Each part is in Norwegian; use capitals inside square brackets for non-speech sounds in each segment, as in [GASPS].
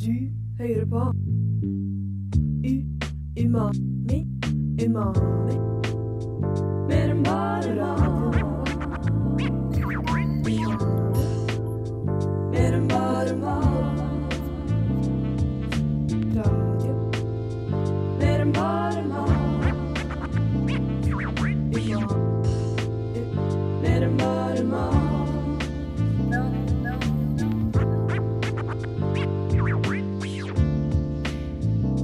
Du hører på U Umami Umami Mer enn bare mat Mer enn bare mat Radio Mer enn bare mat Umami Mer enn bare mat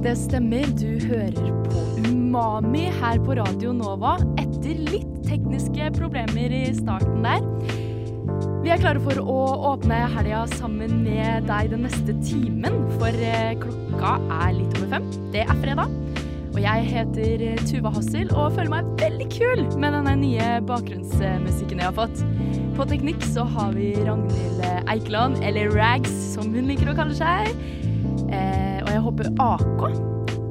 Det stemmer, du hører på Umami her på Radio Nova etter litt tekniske problemer i starten der. Vi er klare for å åpne helga sammen med deg den neste timen, for eh, klokka er litt over fem. Det er fredag. Og jeg heter eh, Tuva Hassel og føler meg veldig kul med denne nye bakgrunnsmusikken jeg har fått. På teknikk så har vi Ragnhild Eikeland, eller Rags som hun liker å kalle seg. Eh, og jeg håper AK,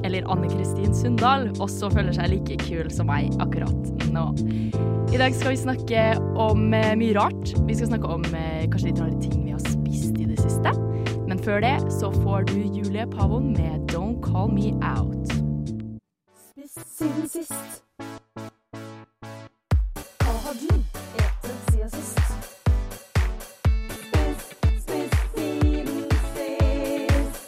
eller Anne Kristin Sundal, også føler seg like kul som meg akkurat nå. I dag skal vi snakke om eh, mye rart. Vi skal snakke om eh, kanskje litt rare ting vi har spist i det siste. Men før det så får du Julie Pavon med Don't Call Me Out. Spist siden sist. Hva har du etet siden sist? Spist, spist siden sist.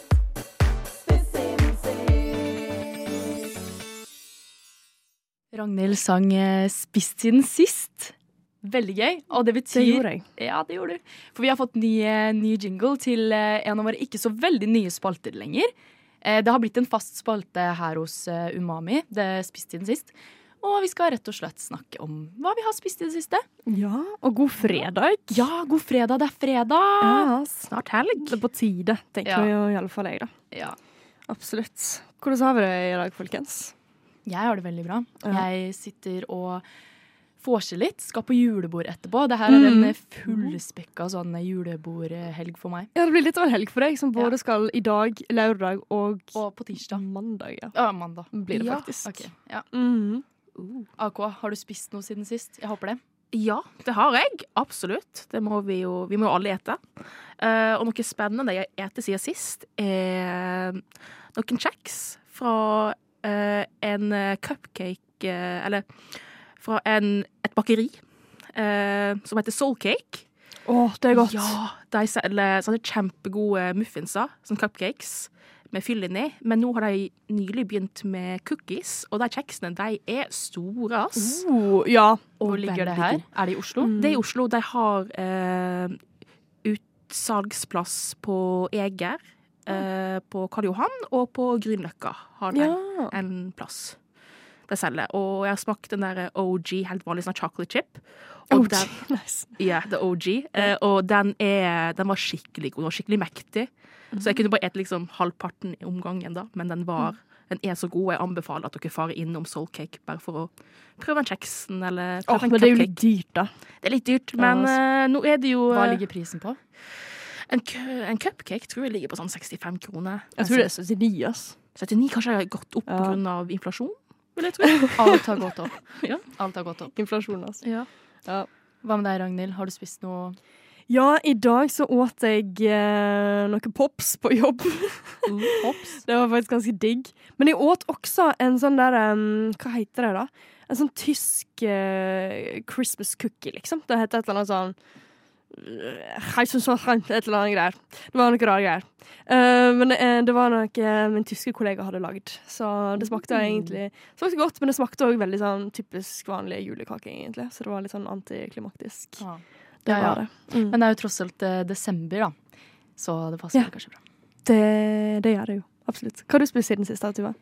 Spist siden sist. Ragnhild sang eh, 'Spist siden sist'. Veldig gøy. Og det betyr Det gjorde jeg. Ja, det gjorde du. For vi har fått ny, eh, ny jingle til eh, en av våre ikke så veldig nye spalter lenger. Eh, Det har blitt en fast spalte her hos eh, Umami, det spist siden sist. Og vi skal rett og slett snakke om hva vi har spist i det siste. Ja, og god fredag. Ja, god fredag, det er fredag! Ja, snart helg. Det er på tide, tenker Ja. jo i alle fall jeg, da. Ja. Absolutt. Hvordan har vi det i dag, folkens? Jeg har det veldig bra. Ja. Jeg sitter og vorser litt, skal på julebord etterpå. Det her er en Mm. eh, fullspekka sånn julebordhelg for meg. Ja, det blir litt av en helg for deg, som Ja. både skal i dag, lørdag og, Og på tirsdag. mandag. Ja. Ja, mandag. Blir det faktisk. Ok, ja. Mhm. AK, har du spist noe siden sist? Jeg håper det. Ja, det har jeg. Absolutt. Det må vi, jo, vi må jo alle ete. Eh, og noe spennende jeg eter siden sist, er noen kjeks fra eh, en eh, cupcake eh, Eller fra en, et bakeri eh, som heter Soulcake. Å, det er godt. Ja, de selger sånne kjempegode muffinser, sånn cupcakes, med fyll inni. Men nå har de nylig begynt med cookies, og de kjeksene de er store, ass. Oh, ja. Hvor Og ligger det veldig her? gode. Er det i Oslo? Det er i Oslo. De har eh, utsalgsplass på Eger, eh, på Karl Johan og på Grünerløkka har de ja. en plass. De selger. Og jeg har smakt den der OG, helt vanlig sånn chocolate chip. Og OG. den- Oh, [LAUGHS] Nice. ja, The OG. Eh, og den, er, den var skikkelig god. Den var skikkelig mektig. Så jeg kunne bare ete liksom halvparten om gangen, da. Men den, var, den er så god. Jeg anbefaler at dere farer innom Soulcake bare for å prøve den kjeksen Åh, eller prøve en men det er jo cupcake. litt dyrt, da. Det er litt dyrt, men eh, nå er det jo Hva eh, ligger prisen på? en, cu- en cupcake tror jeg ligger på sånn 65 kroner. Jeg tror det er 79, ass. 79 kanskje har gått opp Ja. pga. av inflasjon, vil [LAUGHS] jeg tro. Alt har gått [LAUGHS] opp. Ja. Alt har gått opp. Inflasjon, ass. ja. Ja. Hva med deg, Ragnhild? Har du spist noe Ja, i dag så åt jeg eh, noen pops på jobb. Uh, hops? Det var faktisk ganske digg. Men jeg åt også en sånn der em, Hva heter det, da? En sånn tysk eh, Christmas cookie, liksom. Det heter et eller annet sånn eh, Heisensohn, Et eller annet greier. Det var noe rare greier. Eh, men det, eh, det var noe eh, min tyske kollega hadde lagd. Så det smakte Mm. egentlig smakte godt, men det smakte òg veldig sånn typisk vanlig julekake, egentlig. Så det var litt sånn antiklimaktisk. Ja. Det Ja, ja. var det. Mm. Men det er jo tross alt eh, desember, da. Så det passer Ja. kanskje bra. Det, det gjør det jo. Absolutt. Hva har du spist siden sist, da, Tuva?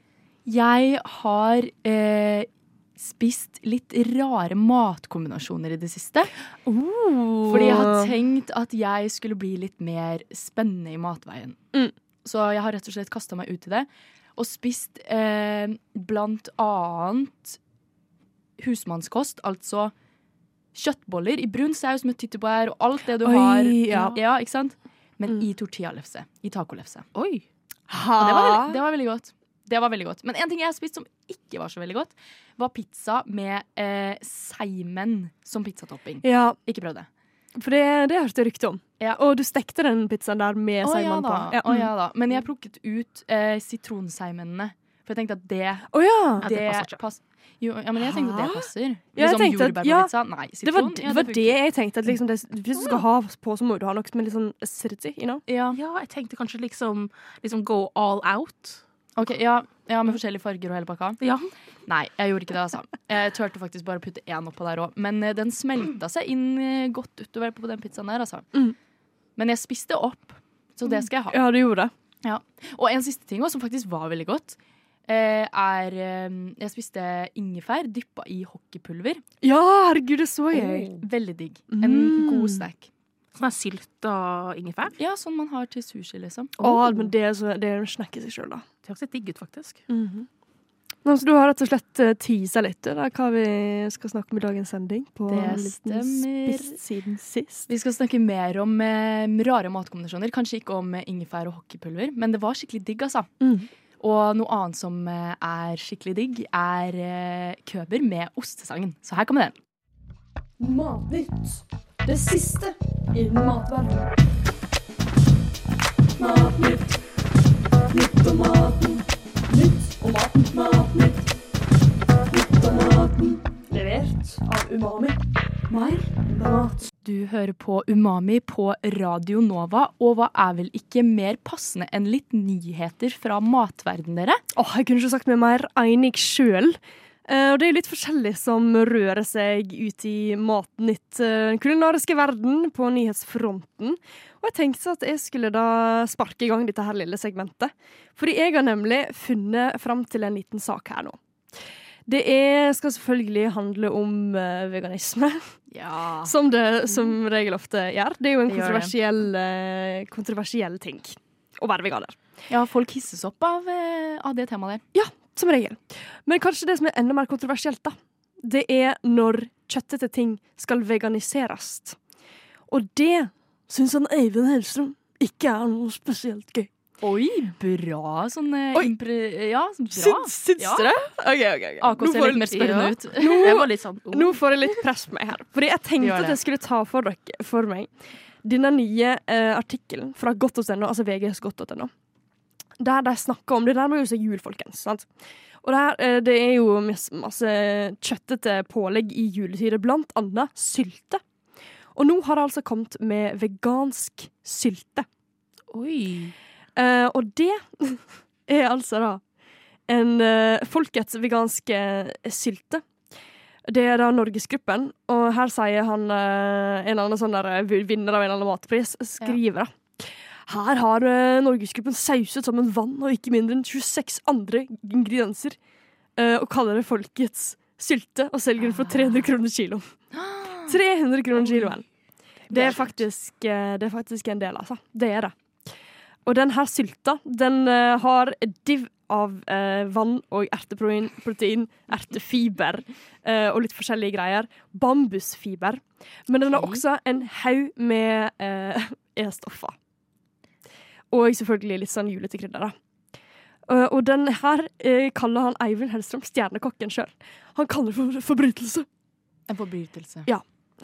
Jeg har eh, spist litt rare matkombinasjoner i det siste. Oh. Fordi jeg har tenkt at jeg skulle bli litt mer spennende i matveien. Mm. Så jeg har rett og slett kasta meg ut i det. Og spist eh, blant annet husmannskost, altså kjøttboller i brun saus med tyttebær og alt det du Oi, har. ja. ikke sant? Men Mm. i tortillalefse. I tacolefse. Oi. Og det var, Ah. veldig, det var veldig godt. Det var veldig godt. Men en ting jeg har spist som ikke var så veldig godt, var pizza med eh, seimen som pizzatopping. Ja, Ikke prøv det. For det, det hørte jeg rykte om. Ja. Og du stekte den pizzaen der med Å ja, seimen da. på. Å ja da. Men jeg plukket ut eh, sitronseimennene. For jeg tenkte at det, Å ja! Ja, det det, passer ikke. pass- jo, ja, men jeg tenkte at det passer. Ja, jeg liksom tenkte at- jordbær på ja. pizza. Nei, Det var, sitron. det, ja, var funker. det jeg tenkte. At liksom det, hvis du skal ha på, så må du ha noe med litt sånn acidity. You know? Ja. Ja, jeg tenkte kanskje liksom, liksom go all out. ok, ja, ja, med forskjellige farger og hele pakka. Ja. Nei, jeg gjorde ikke det, altså. Jeg turte faktisk bare å putte én oppå der òg. Men eh, den smelta seg inn eh, godt utover på den pizzaen der, altså. Mm. Men jeg spiste opp, så det skal jeg ha. Ja, du gjorde det. Og en siste ting også, som faktisk var veldig godt, eh, er eh, Jeg spiste ingefær dyppa i hockeypulver. Ja, herregud, det så jeg. Veldig digg. En Mm. god snack. Sånn her sylt og ingefær. Ja, sånn man har til sushi, liksom. Å, men det, er så, det er en snakk i seg sjøl, da. Det høres litt digg ut, faktisk. Mhm. Nå, så du har rett og slett eh, teasa litt eh, da, hva vi skal snakke om i dagens sending. På Det en liten stemmer. spiss siden sist. Vi skal snakke mer om eh, rare matkombinasjoner. Kanskje ikke om eh, ingefær og hockeypulver, men det var skikkelig digg, altså. Mm. Og noe annet som eh, er skikkelig digg, er eh, køber med ostesangen. Så her kommer den. Matnytt. Det siste i matverdenen. Matnytt. Nytt om maten. Nytt om maten. Matnytt. Nytt om maten. Levert av Umami. Mer enn bare mat. Du hører på Umami på Radio Nova, og hva er vel ikke mer passende enn litt nyheter fra matverden, dere? Åh, jeg kunne ikke sagt meg mer enig sjøl. og det er jo litt forskjellig som rører seg ut i Matnytt, eh, den kulinariske verden, på nyhetsfronten. Og jeg tenkte at jeg skulle da sparke i gang dette her lille segmentet. Fordi jeg har nemlig funnet fram til en liten sak her nå. Det er, skal selvfølgelig handle om eh, veganisme, Ja. [LAUGHS] Mm. som det som regel ofte gjør. Det er jo en Det gjør det. kontroversiell, eh, kontroversiell ting å være veganer. ja folk hisses opp av, eh, av det temaet der. Som regel. Men kanskje det som er enda mer kontroversielt, da, det er når kjøttete ting skal veganiseres. Og det syns han Eivind Hellstrøm ikke er noe spesielt gøy. Oi, bra sånn eh, Oi. impre... Ja, bra. Syns, syns Ja. du det? OK, OK. ok. AK Nå ser får- litt mer ja. spørrende ut. Jeg var litt sånn oh. Nå får jeg litt press på meg her. Fordi jeg tenkte Gjør det. at jeg skulle ta for, dere, for meg denne nye eh, artikkelen fra godt.no, altså VGs godt.no, der de snakker om Det nærmer jo seg jul, folkens. sant? Og der, eh, det er jo mas- masse kjøttete pålegg i juletider, blant annet sylte. Og nå har det altså kommet med vegansk sylte. Oi. Eh, og det [LAUGHS] er altså da en eh, folkets veganske sylte. Det er da Norgesgruppen, og her sier han eh, en eller annen sånn der eh, vinner av en eller annen matpris, skriver da. Her har eh, Norgesgruppen sauset sammen vann og ikke mindre enn 26 andre ingredienser, eh, og kaller det folkets sylte, og selger den for 300 kroner [GASPS] kilo. 300 kroner kiloen. Det er faktisk, eh, det er faktisk en del, altså. Det er det. Og den her sylta, den eh, har div av eh, vann og erteprotein, protein, ertefiber eh, og litt forskjellige greier. Bambusfiber. Men den har Ok. også en haug med eh, [LAUGHS] E-stoffer. Og selvfølgelig litt sånn julete krydder, da. Eh, og den her eh, kaller han Eivind Hellstrøm stjernekokken sjøl. Han kaller det for forbrytelse. En forbrytelse.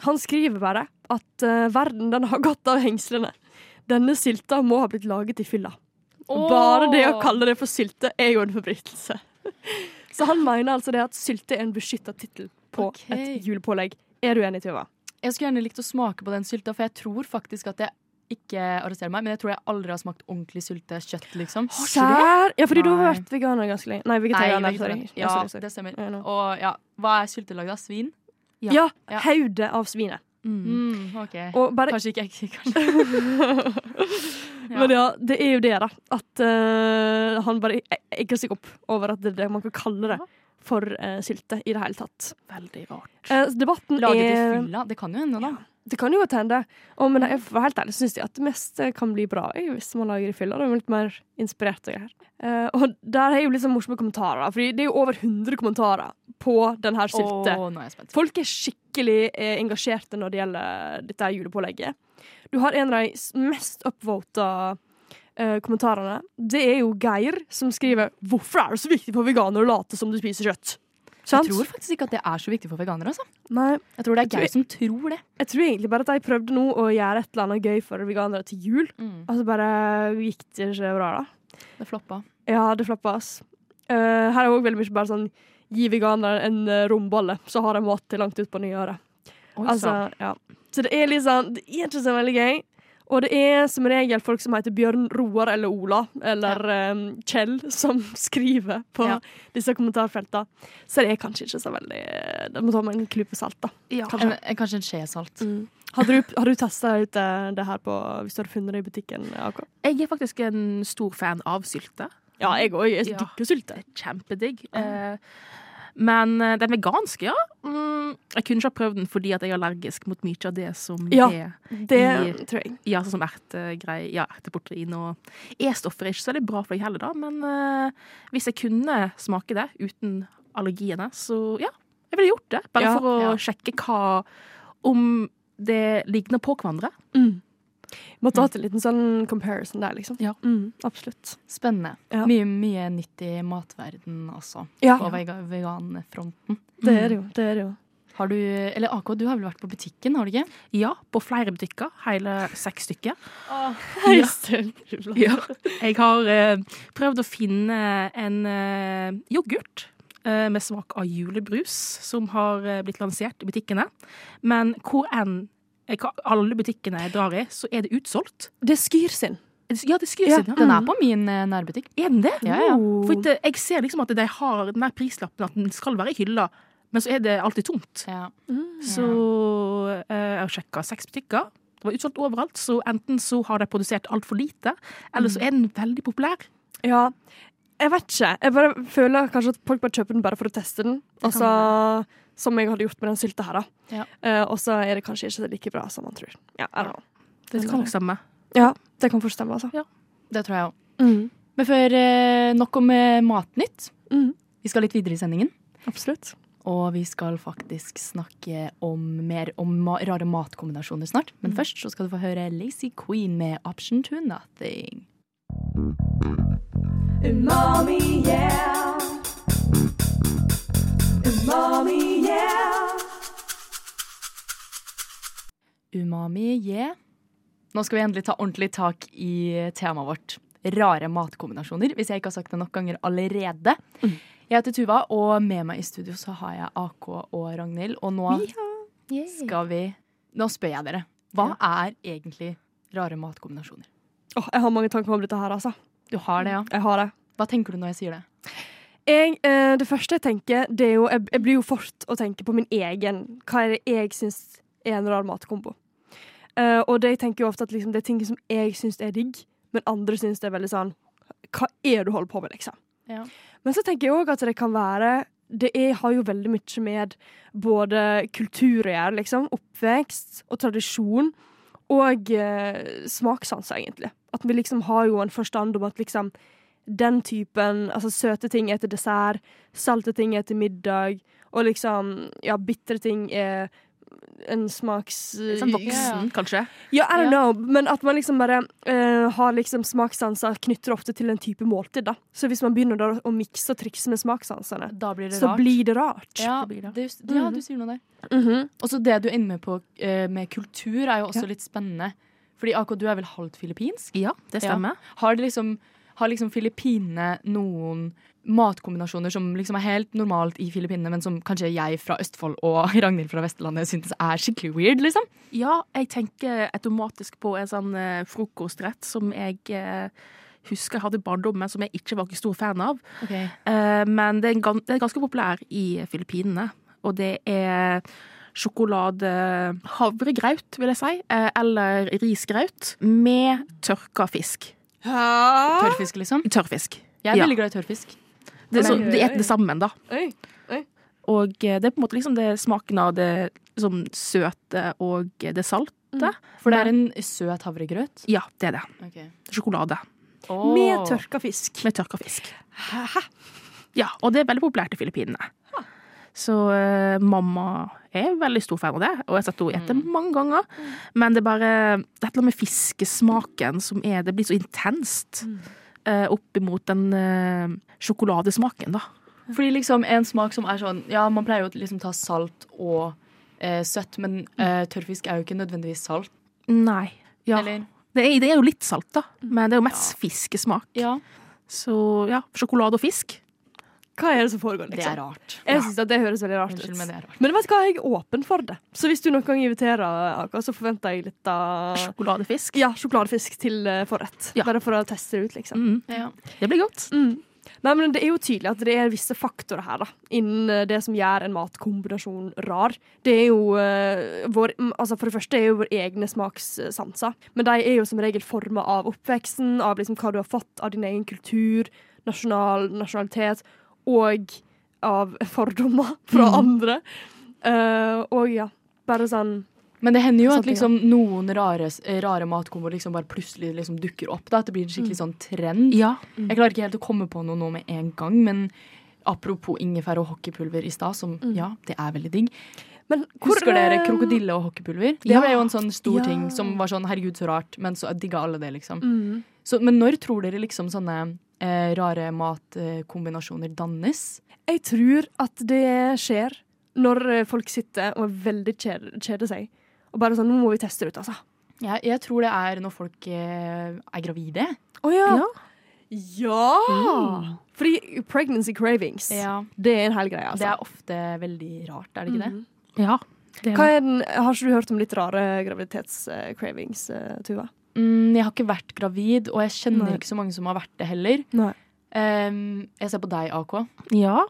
Han skriver bare at eh, verden den har gått av hengslene. Denne sylta må ha blitt laget i fylla. Og Bare det å kalle det for sylte er jo en [LAUGHS] forbrytelse. Så han mener altså det at sylte er en beskytta tittel på Ok. et julepålegg. Er du enig, Tuva? Jeg skulle gjerne likt å smake på den sylta, for jeg tror faktisk at jeg ikke arresterer meg, men jeg tror jeg aldri har smakt ordentlig syltekjøtt, liksom. Sær? Ja, fordi du har Nei. vært veganer ganske lenge. Nei, Nei, vegetarianer. vegetarianer. Sorry. Ja, sorry, sorry. det stemmer. Ja, nå. Og ja, hva er sylte lagd av? Svin? ja. Ja, Ja. hodet av svinet. Mm. Mm, ok. Og bare Kanskje ikke jeg, kanskje. Men ja, det er jo det, da. At eh, han bare e- egger seg opp over at det er det man kan kalle det for eh, sylte i det hele tatt. Veldig rart. Eh, debatten Laget i er fylla? Det kan jo hende, da. Det kan jo godt hende. Og, men jeg, for å være helt ærlig syns jeg at det meste kan bli bra jeg, hvis man lager i fylla. Det er jo litt mer inspirert og greier. Eh, og der er jo litt sånn morsomme kommentarer, da, Fordi det er jo over 100 kommentarer på den her sylte. Åh, nå er jeg spent. Folk er skikkelig eh, engasjerte når det gjelder dette her julepålegget. Du har en av de s- mest upvota eh, kommentarene. Det er jo Geir som skriver 'Hvorfor er det så viktig for veganere å late som de spiser kjøtt?' Sant? Jeg tror faktisk ikke at det er så viktig for veganere. Altså. Nei, Jeg tror det Jeg er tror- Geir som tror det. jeg tror egentlig bare at de prøvde nå å gjøre et eller annet gøy for veganere til jul. Og så bare gikk det ikke bra, da. Det floppa. Ja, det floppa, ass. Eh, her er òg veldig mye bare sånn gi veganere en eh, rombolle, så har de mat til langt ut på nyåret. Oi, sann. Altså, ja. Så det er litt sånn Det er ikke så veldig gøy. Og det er som regel folk som heter Bjørn Roar eller Ola eller eh, Kjell, som [LAUGHS] skriver på Ja. disse kommentarfeltene. Så det er kanskje ikke så veldig Det må ta med en klype salt, da. ja. En, en, kanskje en skje Mm. salt. Har du, har du testa ut eh, det her på, hvis du hadde funnet det i butikken? AK? Jeg er faktisk en stor fan av sylte. Ja, jeg òg. Jeg Ja. digger sylte. Kjempedigg. Eh, men eh, den veganske, ja. Mm, jeg kunne ikke ha prøvd den fordi at jeg er allergisk mot mye av det som Ja. er Det I- tror jeg. ja, sånn som ertegreier, ja, erteportrin og E-stoffer er ikke så veldig bra for deg heller, da, men eh, hvis jeg kunne smake det uten allergiene, så ja, jeg ville gjort det. Bare Ja, for å ja. sjekke hva Om det ligner på hverandre. Mm. Måtte hatt en liten sånn comparison der, liksom. Ja. Mm, absolutt. Spennende. Ja. Mye, mye nytt i matverden også, Ja, på vega- veganfronten. det er det jo. Det er det jo. Har du, eller AK, du har vel vært på butikken, har du ikke? Ja, på flere butikker. Hele seks stykker. Hei, Støvler. Ja. Jeg har eh, prøvd å finne en eh, yoghurt eh, med smak av julebrus som har eh, blitt lansert i butikkene. Men hvor enn eh, hva- alle butikkene jeg drar i, så er det utsolgt. Det er Skyr sin. Ja, det skrives Ja, inn, ja. Den er på min eh, nærbutikk. Er den det? Ja, ja. For det, jeg ser liksom at de har den der prislappen at den skal være i hylla, men så er det alltid tomt. Ja. Så eh, jeg har sjekka seks butikker. Det var utsolgt overalt, så enten så har de produsert altfor lite, eller så er den veldig populær. Ja. Jeg vet ikke. Jeg bare føler kanskje at folk bare kjøper den bare for å teste den. kan Altså, som jeg hadde gjort med den sylta her, da. Ja. Eh, og så er det kanskje ikke like bra som man tror. Ja, I don't know. Det kan nok stemme. ja det kan forstemme, altså. Det tror jeg òg. Mm. Men før eh, nok om eh, Matnytt. Mm. Vi skal litt videre i sendingen. Absolutt. Og vi skal faktisk snakke om mer om ma rare matkombinasjoner snart. Men først så skal du få høre Lazy Queen med 'Option to Nothing'. Umami, yeah. Umami, yeah. Umami, yeah. Nå skal vi endelig ta ordentlig tak i temaet vårt. Rare matkombinasjoner, hvis jeg ikke har sagt det nok ganger allerede. Jeg heter Tuva, og med meg i studio så har jeg AK og Ragnhild. Og nå skal vi Nå spør jeg dere. Hva er egentlig rare matkombinasjoner? Åh, jeg har mange tanker om dette her, altså. Du har det, ja. Jeg har det. Hva tenker du når jeg sier det? Jeg, eh, det første jeg tenker, det er jo Jeg, jeg blir jo fort å tenke på min egen. Hva er det jeg syns er en rar matkombo? Eh, og det jeg tenker jo ofte at liksom, det er ting som jeg syns er digg, men andre syns det er veldig sånn Hva er det du holder på med, liksom? Ja. Men så tenker jeg òg at det kan være det er, har jo veldig mye med både kultur å gjøre, liksom. Oppvekst og tradisjon. Og eh, smakssanser, egentlig. At vi liksom har jo en forstand om at liksom den typen Altså søte ting er til dessert, salte ting er til middag, og liksom Ja, bitre ting er en smaks... eh, Sånn voksen, kanskje. Ja, I Ja. don't know, men at man liksom bare eh, har liksom smakssanser knytter ofte til en type måltid, da. Så hvis man begynner da å mikse og trikse med smakssansene, Da blir det så rart. blir det rart. ja, det blir det. det Mm. er just- ja, du sier noe der. Mhm. Og så det du er inne med på eh, med kultur, er jo også Ja. litt spennende. Fordi AK, du er vel halvt filippinsk? Ja, det stemmer. Har, det liksom, har liksom Filippinene noen matkombinasjoner som liksom er helt normalt i Filippinene, men som kanskje jeg fra Østfold og [LAUGHS] Ragnhild fra Vestlandet synes er skikkelig weird, liksom? Ja, jeg tenker automatisk på en sånn eh, frokostrett som jeg eh, husker jeg hadde i barndommen, men som jeg ikke var ikke stor fan av. Eh, men det er, en gan det er ganske populær i Filippinene. Og det er sjokolade havregraut, vil jeg si. Eh, eller risgraut med tørka fisk. Tørrfisk, liksom? Tørrfisk. Jeg er Ja. veldig glad i tørrfisk. Det, er så, Oi, oi, de oi. spiser det sammen, da. Oi. Og eh, det er på en måte liksom det smaken av det liksom, søte og det salte. For det er en søt havregrøt. Ja, det er det. Sjokolade Med tørka fisk. med tørka fisk. Ja, og det er veldig populært i Filippinene. Så eh, mamma er veldig stor fan av det, og jeg har sett henne spise mange ganger. Men det er bare det er et eller annet med fiskesmaken som er Det blir så intenst eh, opp imot den eh, sjokoladesmaken, da. Fordi liksom en smak som er sånn Ja, man pleier jo å liksom ta salt og eh, søtt, men eh, tørrfisk er jo ikke nødvendigvis salt. Nei. Ja. Eller? Det er, det er jo litt salt, da. Men det er jo mest fiskesmak. Ja. Så ja, sjokolade og fisk. Hva er det som foregår? Det Liksom? er rart. Jeg synes at det høres veldig rart Unnskyld, ut. men det er rart. Men vet du hva, jeg er åpen for det. Så hvis du noen gang inviterer Aka, så forventer jeg litt av Sjokoladefisk. ja, sjokoladefisk til eh, forrett. Ja. Bare for å teste det ut, liksom. Mm. Ja. Det blir godt. Nei, men Det er jo tydelig at det er visse faktorer her da, innen eh, det som gjør en matkombinasjon rar. Det er jo eh, vår, mm, altså For det første er jo våre egne smakssanser. Men de er jo som regel forma av oppveksten, av liksom hva du har fått av din egen kultur, nasjonal, nasjonalitet, og av [LAUGHS] fordommer Mm. fra andre. Eh, og ja, bare sånn Men det hender jo at Satte i liksom noen rare, s- rare matkomboer liksom bare plutselig liksom dukker opp. da, At det blir en skikkelig sånn trend. Ja. Jeg klarer ikke helt å komme på noe nå med en gang, men apropos ingefær og hockeypulver i stad, som ja, det er veldig digg. Men hvor- eh, Husker dere krokodille og hockeypulver? Det Ja. ble jo en sånn stor Ja. ting som var sånn herregud, så rart, men så digga alle det, liksom. Mm. Så, men når tror dere liksom sånne eh, rare matkombinasjoner dannes? Jeg tror at det skjer når eh, folk sitter og er veldig kjeder, kjeder seg. Og bare sånn, nå må vi teste det ut, altså. Jeg, jeg tror det er når folk eh, er gravide. Å ja. Ja. Ja! Fordi pregnancy cravings, det er en hel greie, Det altså. er ofte veldig rart, er det ikke det? Mhm. Ja. Det Hva er den, har ikke du hørt om litt rare graviditetscravings, eh, Tuva? Mm, jeg har ikke vært gravid, og jeg kjenner Nei. ikke så mange som har vært det heller. Nei. Ehm, jeg ser på deg, AK, ja.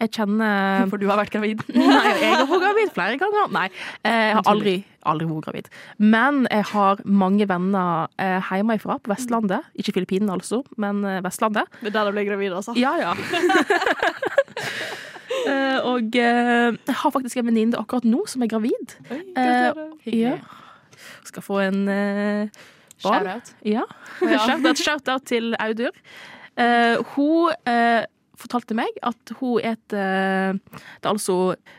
Jeg kjenner [LAUGHS] for du har vært gravid. [LAUGHS] Nei, jeg har vært gravid flere ganger. Nei, eh, jeg har aldri, aldri vært gravid. Men jeg har mange venner eh, hjemmefra på Vestlandet. Ikke Filippinene, altså, men eh, Vestlandet. Det er der de ble gravide, altså. Ja, ja. [LAUGHS] Eh, og eh, jeg har faktisk en venninne akkurat nå som er gravid. Oi, Eh, gratulerer. Ja. Skal få en eh, barn. Shout-out. Ja. Ja. Shout-out shout-out til Audur. Eh, hun eh, fortalte meg at hun et eh, Det er altså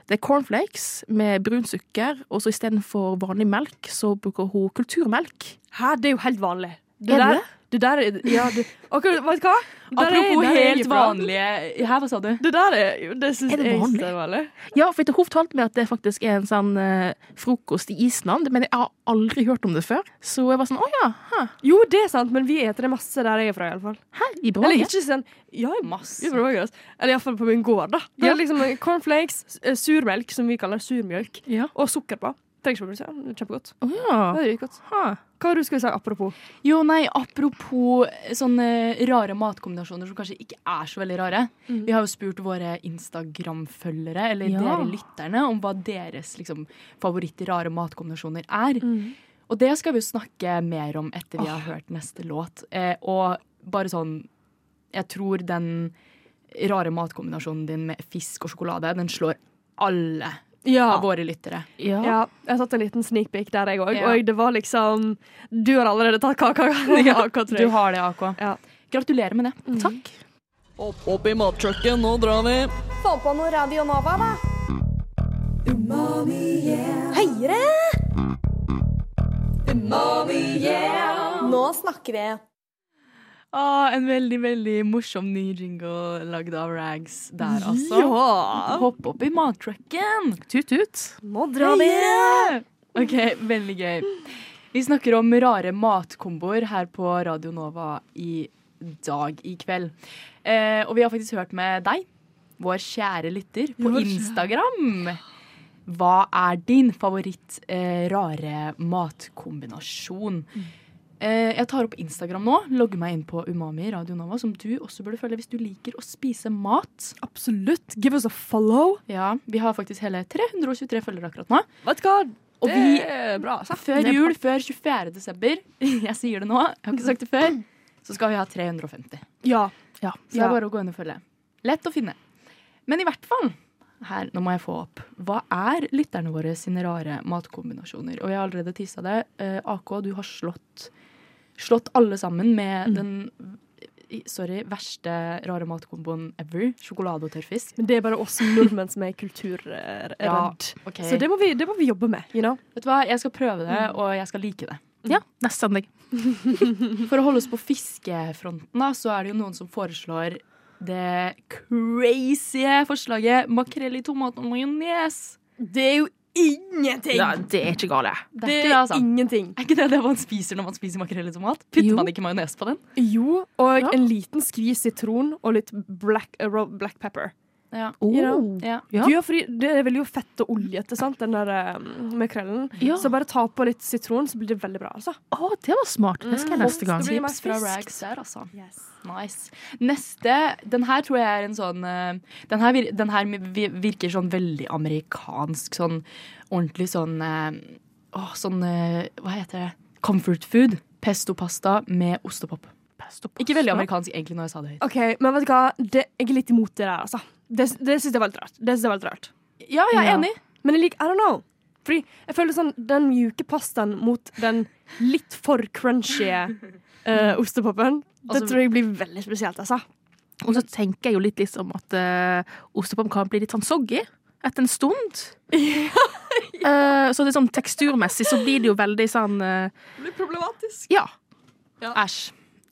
det er cornflakes med brun sukker, og så istedenfor vanlig melk, så bruker hun kulturmelk. Hæ, det er jo helt vanlig. Er det der, det? det der er ja, det, Akkurat, Vet du hva? Der er- Apropos der er jeg helt fra. vanlige Her, hva sa du? Det der er jo Det syns Er det jeg vanlig? er vanlig. Ja, for hun fortalte meg at det faktisk er en sånn eh, frokost i Island, men jeg har aldri hørt om det før. Så jeg var sånn å ja, hæ, Jo, det er sant, men vi eter det masse der jeg er fra, iallfall. i Eller Brage? ikke sånn Ja, Mm. i Masse. Vi bruker oss. Eller iallfall på min gård, da. Det Ja. er liksom cornflakes, s- eh, surmelk, som vi kaller surmjølk, Ja. og sukker på. Trenger ikke å produsere. det er Kjempegodt. Å ja. Det er godt. Hæ. Hva har du skulle si apropos? Jo, nei, apropos eh, sånne rare matkombinasjoner som kanskje ikke er så veldig rare. Vi har jo spurt våre Instagram-følgere, eller Ja. dere lytterne, om hva deres liksom, favoritt-rare matkombinasjoner er. Mm. Og det skal vi jo snakke mer om etter vi har hørt neste låt. Eh, og bare sånn Jeg tror den rare matkombinasjonen din med fisk og sjokolade, den slår alle Ja. av våre lyttere. Ja. ja. Jeg satt en liten sneak peek der, jeg òg, Ja. og det var liksom Du har allerede tatt kaka. [LAUGHS] Ja, [LAUGHS] hva Du tror jeg. har det, Mm. AK. Ja. Gratulerer med det. Takk. Opp, opp i matkjøkken, nå drar vi. Høyere! Nå snakker vi. Ah, en veldig veldig morsom ny jingle lagd av Rags der, altså. Ja. Hopp opp i mattrucken! Tut-tut. Nå drar vi. OK, veldig gøy. Vi snakker om rare matkomboer her på Radio Nova i dag i kveld. Eh, og vi har faktisk hørt med deg, vår kjære lytter, på Vår kjære. Instagram. Hva er din favoritt eh, rare matkombinasjon? Eh, jeg tar opp Instagram nå. Logger meg inn på Umami Radio Nova, som du også burde følge hvis du liker å spise mat. Absolutt. Give us a follow. Ja, Vi har faktisk hele 323 følgere akkurat nå. Vet du hva? Og vi er bra, altså. før jul, før 24. desember, [LAUGHS] jeg sier det nå, jeg har ikke sagt det før, så skal vi ha 350. Ja. Ja. Så det er bare å gå inn og følge. Lett å finne. Men i hvert fall, her, nå må jeg få opp, hva er lytterne våre sine rare matkombinasjoner? Og jeg har allerede tissa det. Eh, AK, du har slått, slått alle sammen med den sorry, verste rare matkomboen ever. Sjokolade og tørrfisk. Men det er bare oss nordmenn som er kulturredd. Ja, ok. Så det må, vi, det må vi jobbe med. you know? Vet du hva, jeg skal prøve det, og jeg skal like det. Ja, neste søndag. For å holde oss på fiskefronten, da, så er det jo noen som foreslår det crazy forslaget makrell i tomat og majones. Det er jo ingenting! Ja, det er ikke gale. Det er ikke det, altså. ingenting. Er ikke det det man spiser når man spiser makrell i tomat? Putter Jo. man ikke majones på den? Jo, og Ja. en liten skvis sitron og litt black, eh, raw black pepper. Ja. Oh. Ja. Ja. Jo, fordi det er vel jo fett og oljete, sant, den der um, makrellen. Ja. Så bare ta på litt sitron, så blir det veldig bra, altså. Å, det var smart. Det skal jeg Mm. neste gang. Det blir mer Tips fra friskt. rags der, altså. Nice. Neste Den her tror jeg er en sånn eh, Den her, vir- den her vi- virker sånn veldig amerikansk. Sånn ordentlig sånn eh, Åh, sånn eh, Hva heter det? Comfort food. Pesto-pasta med ost og pop. Ikke veldig amerikansk egentlig når jeg sa det høyt. OK, men vet du hva, det, jeg er litt imot det der, altså. Det, det syns jeg var litt rart. Det synes jeg var litt rart. Ja, jeg er Ja. enig. Men jeg liker I don't know. Fordi jeg føler sånn den mjuke pastaen mot den litt for crunchy uh, ostepopen. Det Altså- tror jeg blir veldig spesielt, altså. Og så tenker jeg jo litt liksom at uh, ostepop kan bli litt sånn soggy etter en stund. [LAUGHS] Eh, så det er sånn teksturmessig så blir det jo veldig sånn eh, Blir problematisk. Ja. Æsj.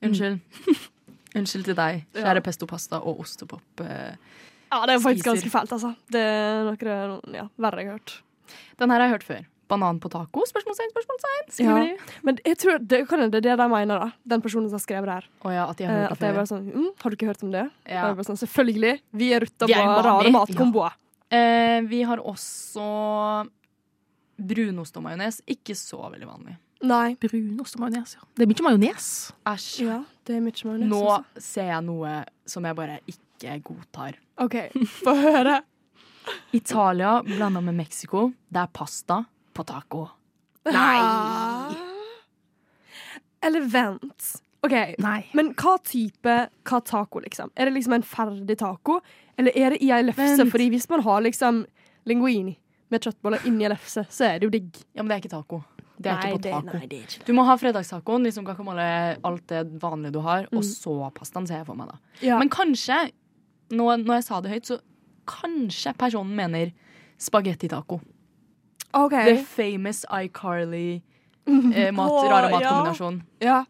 Unnskyld. [LAUGHS] Unnskyld til deg, kjære pesto-pasta og ostepop. eh. Ja, det er faktisk Spiser. ganske fælt, altså. Det er noe det er noe- ja, verre jeg har hørt. Den her har jeg hørt før. Banan på taco? Spørsmålstegn, spørsmålstegn. Ja. Skriver de. Men jeg tror det, kan hende det er det de mener, da. Den personen som har skrevet det her. Å ja, at de har Eh, hørt at det jeg før. bare sånn mm, Har du ikke hørt om det? Ja. Da er jeg bare sånn, Selvfølgelig. Vi er rutta Vi er på umami. rare matkomboer. Eh, vi har også brunost og majones. Ikke så veldig vanlig. Nei. Brunost og majones, ja. Det er mye majones. Æsj. Ja, det er mye majones. Nå altså. ser jeg noe som jeg bare ikke godtar. OK, få høre. Italia blanda med Mexico. Det er pasta på taco. [LAUGHS] Nei! [LAUGHS] Eller vent. OK. Nei. Men hva type hva taco, liksom? Er det liksom en ferdig taco, eller er det i ei lefse? Vent. Fordi hvis man har liksom linguini med kjøttboller inni ei lefse, så er det jo digg. Ja, men det er ikke taco. Det er Nei, ikke på det- taco. nei, det er ikke Du må ha fredagstacoen, liksom guacamole, alt det vanlige du har, og Mm. så pastaen, ser jeg for meg da. Ja. Men kanskje, nå, når jeg sa det høyt, så kanskje personen mener spagetti-taco. OK. The famous [LAUGHS] iCarly eh, mat, Åh, rare ja. matkombinasjon. Ja.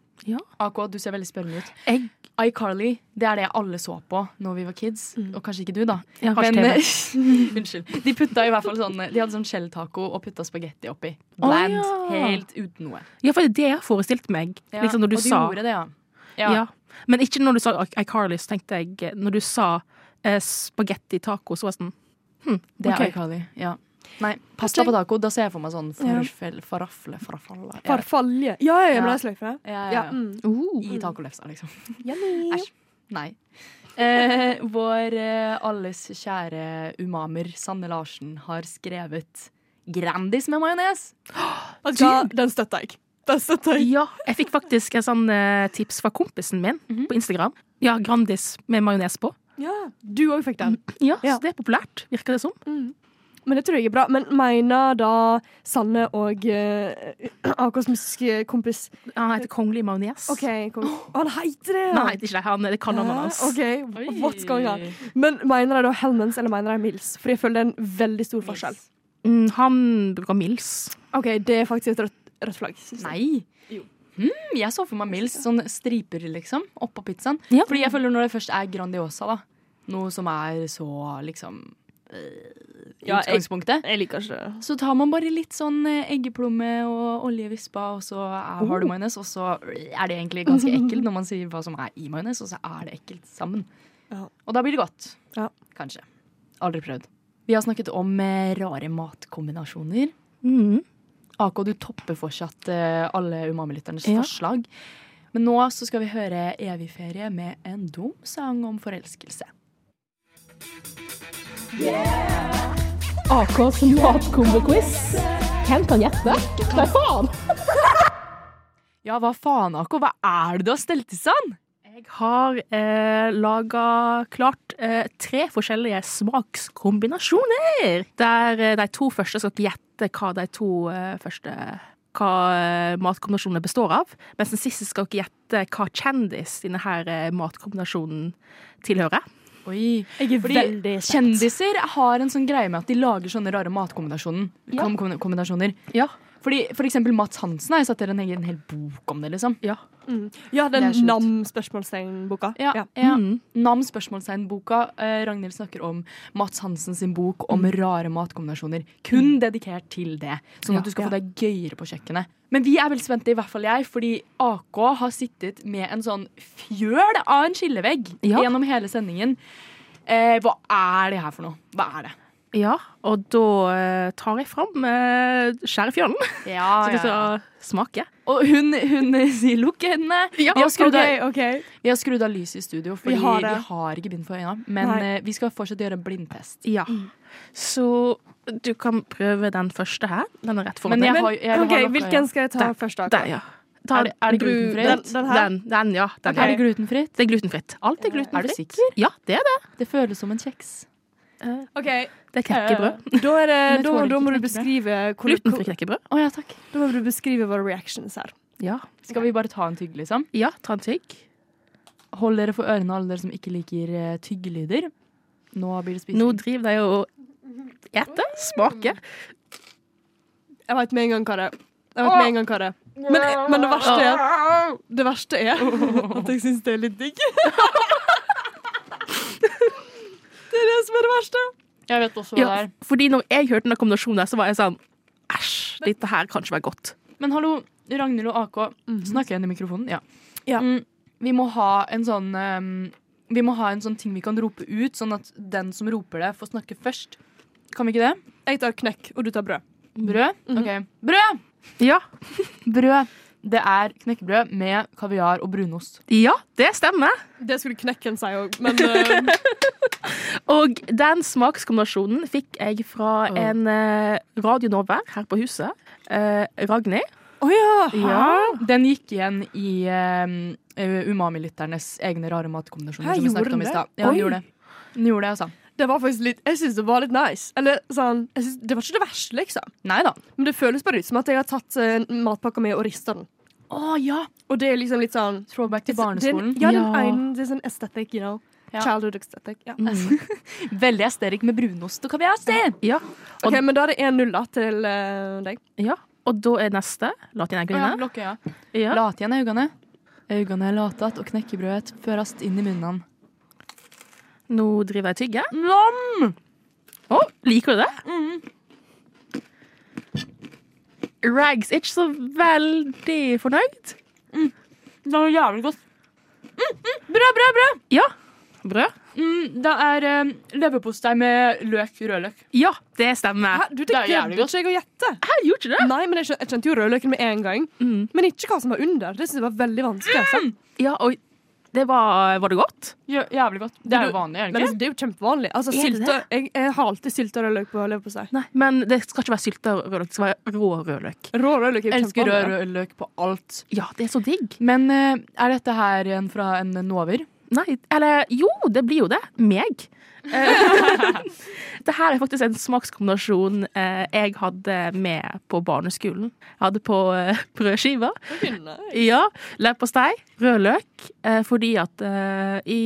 Aqua, du ser veldig spørrende ut. Jeg- iCarly, det er det alle så på når vi var kids. Mm. Og kanskje ikke du, da. Jeg har Men men, eh, [LAUGHS] unnskyld. De putta i hvert fall sånn De hadde sånn skjelltaco og putta spagetti oppi. Bland. ja. Helt uten noe. ja, for det er det jeg har forestilt meg. Ja, Liksom når du, og du sa gjorde det, ja. ja. Men ikke når du sa iCarly, så tenkte jeg eh, Når du sa eh, spagetti taco, så var jeg sånn hm, Det er ok. iCarly. Ja. Nei, pasta på taco, da ser jeg for meg sånn farfel, farafle, farafalla ja. Farfalje. Ja, ja, ja, men Ja. det er sløyfe. for det. Ja, ja, Ja, ja. mm. Uh, I tacolefsa, [LAUGHS] liksom. Æsj. Nei. Eh, vår eh, alles kjære umamer Sanne Larsen har skrevet Grandis med majones. Vet du hva, den støtter jeg. Den støtter jeg. Ja, jeg fikk faktisk en sånn eh, tips fra kompisen min Mhm. på Instagram. Ja, Grandis med majones på. Ja, du òg fikk den. Ja, Ja. så det er populært, virker det som. Men det tror jeg er bra. Men mener da Sanne og uh, [CLEARS THROAT] Akos musikkompis Han heter Kongelig majones. OK, kom. han heter det! ja. Nei, det er ikke det. Han, det kan navnet hans. Hæ? Ah, OK, what's going on? Men mener de da Hellmans eller mener de Mills? For jeg føler det er en veldig stor forskjell. Mm, han bruker Mills. OK, det er faktisk et rødt, rødt flagg. synes jeg. Nei. Hmm, jeg så for meg Mills, sånn striper liksom, oppå pizzaen. Ja. Fordi jeg føler når det først er Grandiosa, da, noe som er så liksom øh, Ja, jeg- Utgangspunktet. Jeg liker ikke det. Så tar man bare litt sånn eh, eggeplomme og oljevispa, og så er, har du majones. Og så er det egentlig ganske ekkelt når man sier hva som er i majones, og så er det ekkelt sammen. Ja. Og da blir det godt. Ja. Kanskje. Aldri prøvd. Vi har snakket om eh, rare matkombinasjoner. Mm. AK, du topper fortsatt eh, alle Umami-lytternes Ja. forslag. Men nå så skal vi høre Evig ferie med en dum sang om forelskelse. AKs matkombo-quiz. Hvem kan gjette? Hva faen? Ja, hva faen, AK? Hva er det du har stelt i stand? Jeg har eh, laga klart eh, tre forskjellige smakskombinasjoner. Der eh, de to første skal ikke gjette hva de to eh, første hva eh, matkombinasjonene består av. Mens den siste skal ikke gjette hva kjendis denne her eh, matkombinasjonen tilhører. Oi. Jeg er Fordi veldig kjendiser har en sånn greie med at de lager sånne rare matkombinasjoner. Kom- kom- kombinasjoner. Ja. Fordi for eksempel Mats Hansen har jo satt dere en egen hel bok om det, liksom. Ja. Ja, Det er den sjukt. nam-spørsmålstegn-boka. Ja, Ja. Mm. Nam spørsmålstegn-boka. Eh, Ragnhild snakker om Mats Hansen sin bok om rare matkombinasjoner. Kun dedikert til det, sånn Ja. at du skal få deg gøyere på kjøkkenet. Men vi er veldig spente, i hvert fall jeg, fordi AK har sittet med en sånn fjøl av en skillevegg Ja. gjennom hele sendingen. Eh, hva er det her for noe? Hva er det? Ja, og da eh, tar jeg fram eh, skjærefjølen, Ja, så du skal smake. Og hun, hun [LAUGHS] sier 'lukk øynene'. vi, har skrudd av, OK. vi har skrudd av lyset i studio, fordi vi har har, det. ikke bind for øynene. Men Nei. eh, vi skal fortsatt gjøre en blindtest. Ja. Mm. Så du kan prøve den første her. Den er rett foran Men jeg deg. har, jeg har Ok, nok- Hvilken skal jeg ta først? da? Der, ja. Ta- Er det- er det bru- glutenfritt? Den, Den den, her? den, ja. Den Er det her. glutenfritt? Det er glutenfritt. Alt er glutenfritt. Er du sikker? Ja, det er det. Det føles som en kjeks. Ok, eh, Det er knekkebrød. Da, Men er det, jeg da, tåler da ikke må du knekkebrød. beskrive hvor, Glutenfri hvor, knekkebrød. Å ja, takk. Da må du beskrive våre reactions her. Ja. Skal vi bare ta en tygg, liksom? ja, ta en tygg. Hold dere for ørene, alle dere som ikke liker eh, tyggelyder. Nå blir det spising. Nå driver de og eter, smaker. Mm, Jeg veit med en gang hva det er. Jeg vet med en gang hva det er. Men, men det verste er Det verste er at jeg syns det er litt digg. Det er det som er det verste. Jeg vet også Ja, fordi når jeg hørte den kombinasjonen der, så var jeg sånn Æsj, dette her kan ikke være godt. Men hallo, Ragnhild og AK. Snakker jeg inn i mikrofonen? Ja. Mhm. Ja. Mm, vi må ha en sånn ehm, Vi må ha en sånn ting vi kan rope ut, sånn at den som roper det, får snakke først. Kan vi ikke det? Jeg tar knekk, og du tar brød. Brød? Mhm. OK. Brød! Ja, Brød. Det er knekkebrød med kaviar og brunost. ja det stemmer. Det skulle knekken si òg, men eh, Og den smakskombinasjonen fikk jeg fra Åh. en eh, Radio Nova her på huset. Eh, Ragnhild. Å ja! Den gikk igjen i ehm, eh, Umami-lytternes egne rare matkombinasjoner. Hæ, som vi gjorde snakket om den i det? stad. Ja, den Oi. gjorde det. Den gjorde det, altså. Det var faktisk litt Jeg syns det var litt nice. Eller sånn jeg synes, Det var ikke det verste, liksom. Nei da. Men det føles bare ut som at jeg har tatt eh, matpakka mi og rista den. Å ja! Og det er liksom litt sånn Throwback til barneskolen. Det er en- ja, det er en egen- det er sånn aesthetic, you know. Ja. Mm. Childhood aesthetic. Ja. Veldig asterik med brunost og kaviar. Se! Ja. Ok, Men da er det 1-0 da til eh, deg. ja. Og da er neste latineggerine. Lukke øya. Ja. Late igjen øynene. Øynene er latet og knekkebrødet førast inn i munnen. Nå driver jeg og tygger. Nam! Å, liker du det? Rags er ikke så veldig fornøyd. Det var jævlig godt. Mm, mm, brød, brød, brød! Ja. Brød? Mm, det er um, leverpostei med løk, rødløk. Ja, det stemmer. Hæ, du, det Det er glemte jævlig godt. ikke jeg å gjette. Hæ, gjorde ikke du det? Nei, men jeg, skjøn, jeg kjente jo rødløken med en gang. Mm. Men ikke hva som var under. Det synes jeg var veldig vanskelig. altså. Ja, oi. Det var, var det godt? Jæ- Jævlig godt. Det er jo vanlig, er Men det ikke? altså, det er jo kjempevanlig. Altså, Er det sylte, jeg, jeg har alltid sylte og rødløk på leverpostei. Nei, men det skal ikke være sylta rødløk, det skal være rå rødløk. Rå rødløk er jo Elsker rød kjempevanlig. rødløk på alt. Ja, det er så digg. Men eh, er dette her en fra en nover? Nei, eller jo, det blir jo det. Meg. Eh, [LAUGHS] det her er faktisk en smakskombinasjon eh, jeg hadde med på barneskolen. Jeg hadde på eh, brødskiver. Ja, leverpostei, rød løk. Eh, fordi at eh, i,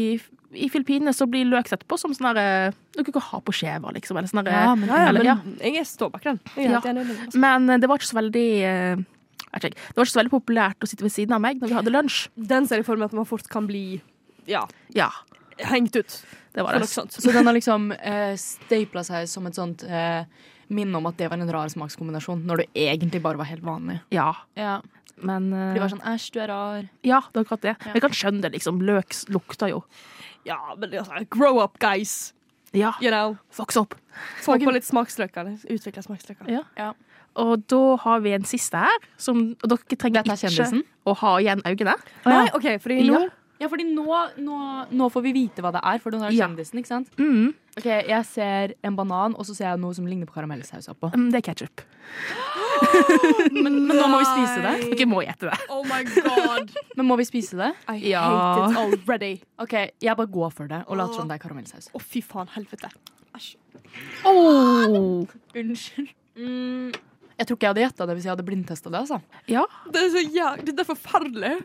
i Filippinene så blir løk sett på som sånn derre Noe du kan ha på skjever, liksom. Eller sånn derre men, Ja, ja, Eller, men ja. jeg står bak den. Jeg er Altså, helt Ja. enig i den. Men eh, det var ikke så veldig eh, vet ikke, det var ikke så veldig populært å sitte ved siden av meg når vi hadde lunsj. Den ser jeg for meg at man fort kan bli ja, Ja, hengt ut. det var For det. noe sånt. Så den har liksom [LAUGHS] eh, stapla seg som et sånt eh, minne om at det var en rar smakskombinasjon, når det egentlig bare var helt vanlig. Ja, Ja, men eh, De var sånn 'æsj, du er rar'. Ja, det er akkurat det. Jeg kan skjønne det, liksom. Løk lukter jo. Ja, men altså, grow up, guys. Ja, You know. voks opp. Få på litt smaksløker. Utvikle smaksløker. Ja. Og da har vi en siste her, som og dere trenger Dette er ikke kjendisen? å ha igjen øynene. Nei, OK, fordi nå Ja. Ja, fordi nå, nå, nå får vi vite hva det er, for den er Ja. kjendisen, ikke sant? Mm, Ok, Jeg ser en banan, og så ser jeg noe som ligner på karamellsaus oppå. mm, det er [GASPS] ketsjup. Men, men nå må vi spise det. Dere må gjette det. Oh my [LAUGHS] god. Men må vi spise det? I Ja. hate it already. OK, jeg bare går for det og later som det er karamellsaus. Å, fy faen. Helvete. oh. Unnskyld. Mm, jeg tror ikke jeg hadde gjetta det hvis jeg hadde blindtesta det. altså. Ja. Det er så jævlig Dette er forferdelig. [LAUGHS]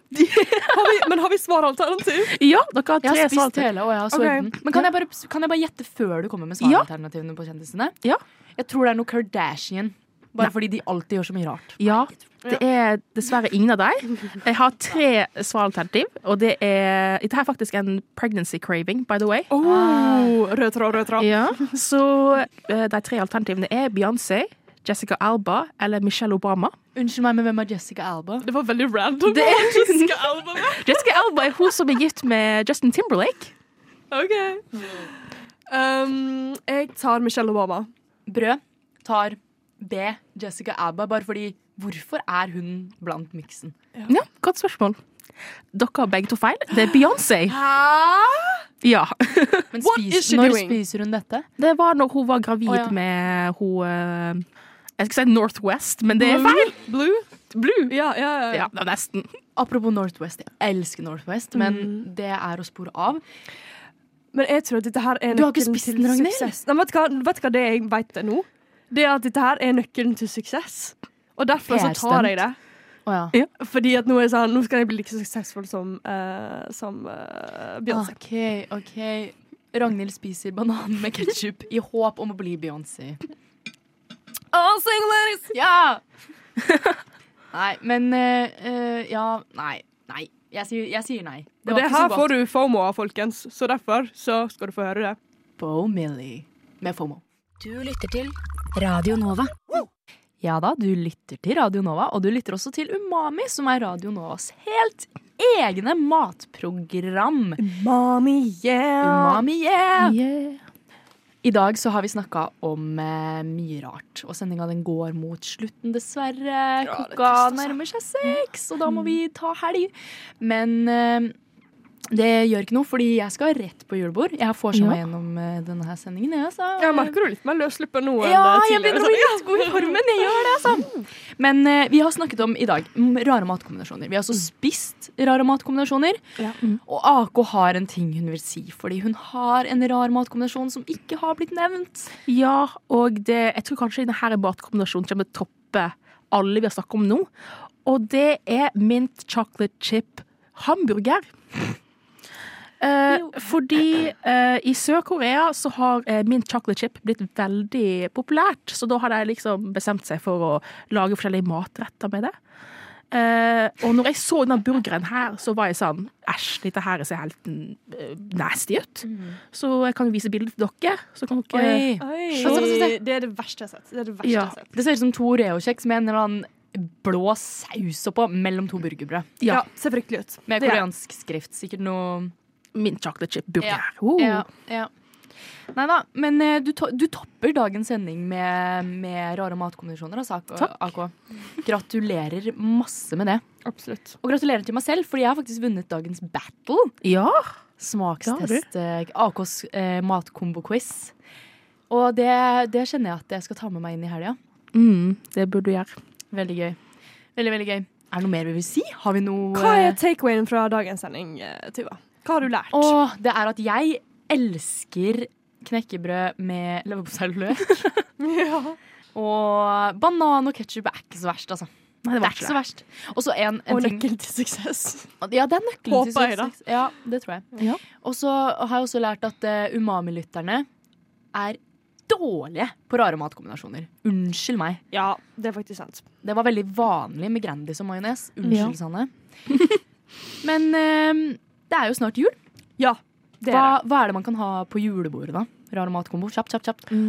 Har vi, men har vi svaralternativ? ja, dere Jeg har tre har spist svar. hele, og jeg har Ok. svulten. Men kan jeg, bare, kan jeg bare gjette før du kommer med Ja. svaralternativene på kjendisene? Ja. Jeg tror det er noe Kardashian. Bare fordi de alltid gjør så mye rart. Ja, det er dessverre ingen av dem. Jeg har tre svaralternativ, og det er Dette er faktisk en pregnancy craving, by the way. Oh, rød tråd, rød tråd. Ja, så eh, de tre alternativene er Beyoncé, Jessica Alba eller Michelle Obama. Unnskyld meg, men hvem er Jessica Alba? Det var veldig random. [LAUGHS] Jessica Alba Jessica Alba er hun som er gift med Justin Timberlake. OK. Um, jeg tar Michelle Obama. Brød tar B. Jessica Alba, bare fordi Hvorfor er hun blant miksen? Ja, godt spørsmål. Dere har begge to feil. Det er Beyoncé. Ja. Men What is spis, she når doing? spiser hun dette? Det var når hun var gravid Å, ja. med hun eh, Jeg skal si Northwest, men det er feil. Blue? Blue. Ja, ja, ja. Ja, det er nesten. Apropos Northwest, jeg elsker Mm. Northwest, men det er å spore av. Men jeg tror at dette her er Du har ikke nøkkelen spist til den, Ragnhild? suksess. Nei, vet, du hva, vet du hva det er jeg vet nå? Det er at dette her er nøkkelen til suksess. Og derfor så tar jeg det. Å ja. Fordi at nå er jeg sånn, nå skal jeg bli like suksessfull som, eh, som eh, Beyoncé. OK, OK. Ragnhild spiser banan med ketsjup i håp om å bli Beyoncé. All singlers! Ja! nei, men eh, eh, Ja, nei. Nei. Jeg sier, jeg sier nei. Og det her får du FOMO av, folkens. Så derfor så skal du få høre det. Bo Millie med FOMO. Du lytter til Radio Nova. Ja da, du lytter til Radio Nova, og du lytter også til Umami, som er Radio Novas helt egne matprogram. Mommy, yeah! Umami, yeah! I dag så har vi snakka om eh, mye rart, og sendinga den går mot slutten, dessverre. Klokka altså. nærmer seg seks, og da Mm. må vi ta helg. Men eh, det gjør ikke noe, fordi jeg skal rett på julebord. Jeg får meg gjennom eh, denne her sendingen, jeg, altså. Jeg merker du er litt mer løssluppen nå enn Ja, eh, jeg begynner tidligere. Mm. å bli litt god i formen. Jeg gjør det, altså. Men eh, vi har snakket om i dag mm, rare matkombinasjoner. Vi har Mm. også spist rare matkombinasjoner. Ja. Og AK har en ting hun vil si, fordi hun har en rar matkombinasjon som ikke har blitt nevnt. Ja, og det, jeg tror kanskje denne matkombinasjonen kommer til å toppe alle vi har snakket om nå. Og det er mint chocolate chip hamburger. Eh, fordi eh, i Sør-Korea så har eh, mint chocolate chip blitt veldig populært. Så da har de liksom bestemt seg for å lage forskjellige matretter med det. Eh, og når jeg så denne burgeren her, så var jeg sånn Æsj, dette her ser helt eh, nasty ut. Så jeg kan jo vise bildet til dere. Så kan dere Altså, Oi, det er det verste jeg har sett. Det er det verste jeg Ja. har sett. Eh, Det ser ut som to Reo-kjeks med en eller annen blå saus oppå mellom to burgerbrød. Ja, Ja. ser fryktelig ut. Med Det er- koreansk skrift. Sikkert noe Mint chocolate chip burger. Ja. Oh. Ja, ja. Nei da, men eh, du, to du topper dagens sending med, med rare matkombinasjoner. Altså, AK. AK. Gratulerer masse med det. Absolutt. Og gratulerer til meg selv, fordi jeg har faktisk vunnet dagens battle. Ja. Smakstest eh, AKs eh, matkombo-quiz. Og det, det kjenner jeg at jeg skal ta med meg inn i helga. Mm, det burde du gjøre. Veldig gøy. Veldig, veldig gøy. Er det noe mer vi vil si? Har vi noe Hva eh, er takeawayen fra dagens sending, eh, Tuva? Hva har du lært? [LAUGHS] Åh, eh, det er at jeg elsker knekkebrød med leverpostei og løk. Og banan og ketsjup er ikke så verst, altså. Nei, Det det var er ikke så ikke det. verst. Og så en, en og ting nøkkelen til suksess. Ja, det er nøkkelen til Håper jeg, da. suksess. Ja, det tror jeg. Mm. Ja. Og så har jeg også lært at eh, umami-lytterne er dårlige på rare matkombinasjoner. Unnskyld meg. Ja, det er faktisk sant. Det var veldig vanlig med Grandis og majones. Unnskyld, Sanne. [LAUGHS] Men eh, det er jo snart jul. Ja, det er Hva, hva er det man kan ha på julebordet, da? Rar matkombo. Kjapt, kjapt, kjapt. det.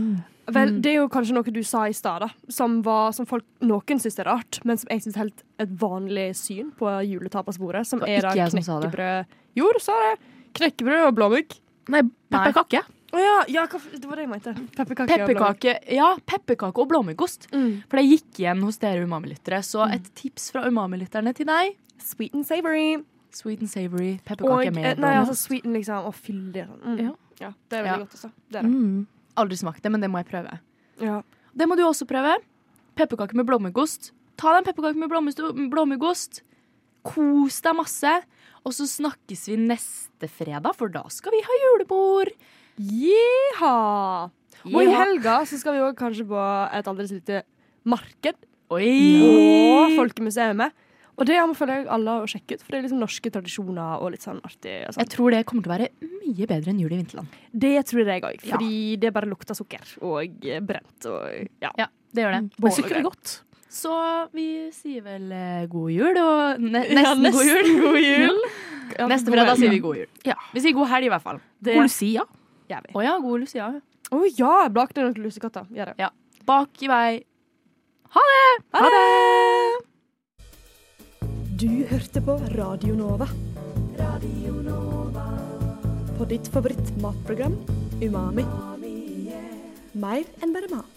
Vel, Mm. det er jo kanskje noe du sa i stad, da, som, var, som folk, noen syns er rart, men som jeg syns er helt et vanlig syn på juletapasbordet, som Det var er da ikke jeg som sa det. knekkebrød Jo, du sa det. Knekkebrød og blåmugg. Nei, pepperkake. Å ja, ja hva, f- det var det jeg mente. Pepperkake. og blåmugg. Pepperkake ja, pepperkake og blåmuggost. Mm. For det gikk igjen hos dere umami-lyttere. Så et tips fra umami-lytterne til deg. Sweet and Mm, savory. Sweet and savory. Og, Pepperkake eh, med nei, altså blåmuggost. sweeten liksom, og fyldig. Mm. Ja. ja. Det er veldig Ja. godt også. Det er det. Mm. Aldri smakt det, men det må jeg prøve. Ja. Det må du også prøve. Pepperkake med blåmuggost. Ta deg en pepperkake med blåmuggost- blåmuggost. Kos deg masse. Og så snakkes vi neste fredag, for da skal vi ha julebord. Jiha! Og i Ja. helga så skal vi jo kanskje på et aldri så lite marked Oi! og Folkemuseet. Og det anbefaler jeg alle å sjekke ut, for det er liksom norske tradisjoner og litt sånn artig. Og Jeg sånt. tror det kommer til å være mye bedre enn jul i vinterland. Det tror jeg òg, fordi det bare lukter sukker og brent og ja. Ja, det gjør det. Men sykkel er godt. Så vi sier vel eh, god jul, og ne nesten, god jul. God jul. Ja, Neste fredag sier vi god jul. Ja. Vi sier god helg, i hvert fall. Det God Lucia. gjør vi. Å ja, god Lucia. Å ja, blakte noen lusekatter. Gjør det. Bak i vei. Ha det! Du hørte på Radio Nova. Radio Nova. På ditt favorittmatprogram Umami. Mer enn bare mat.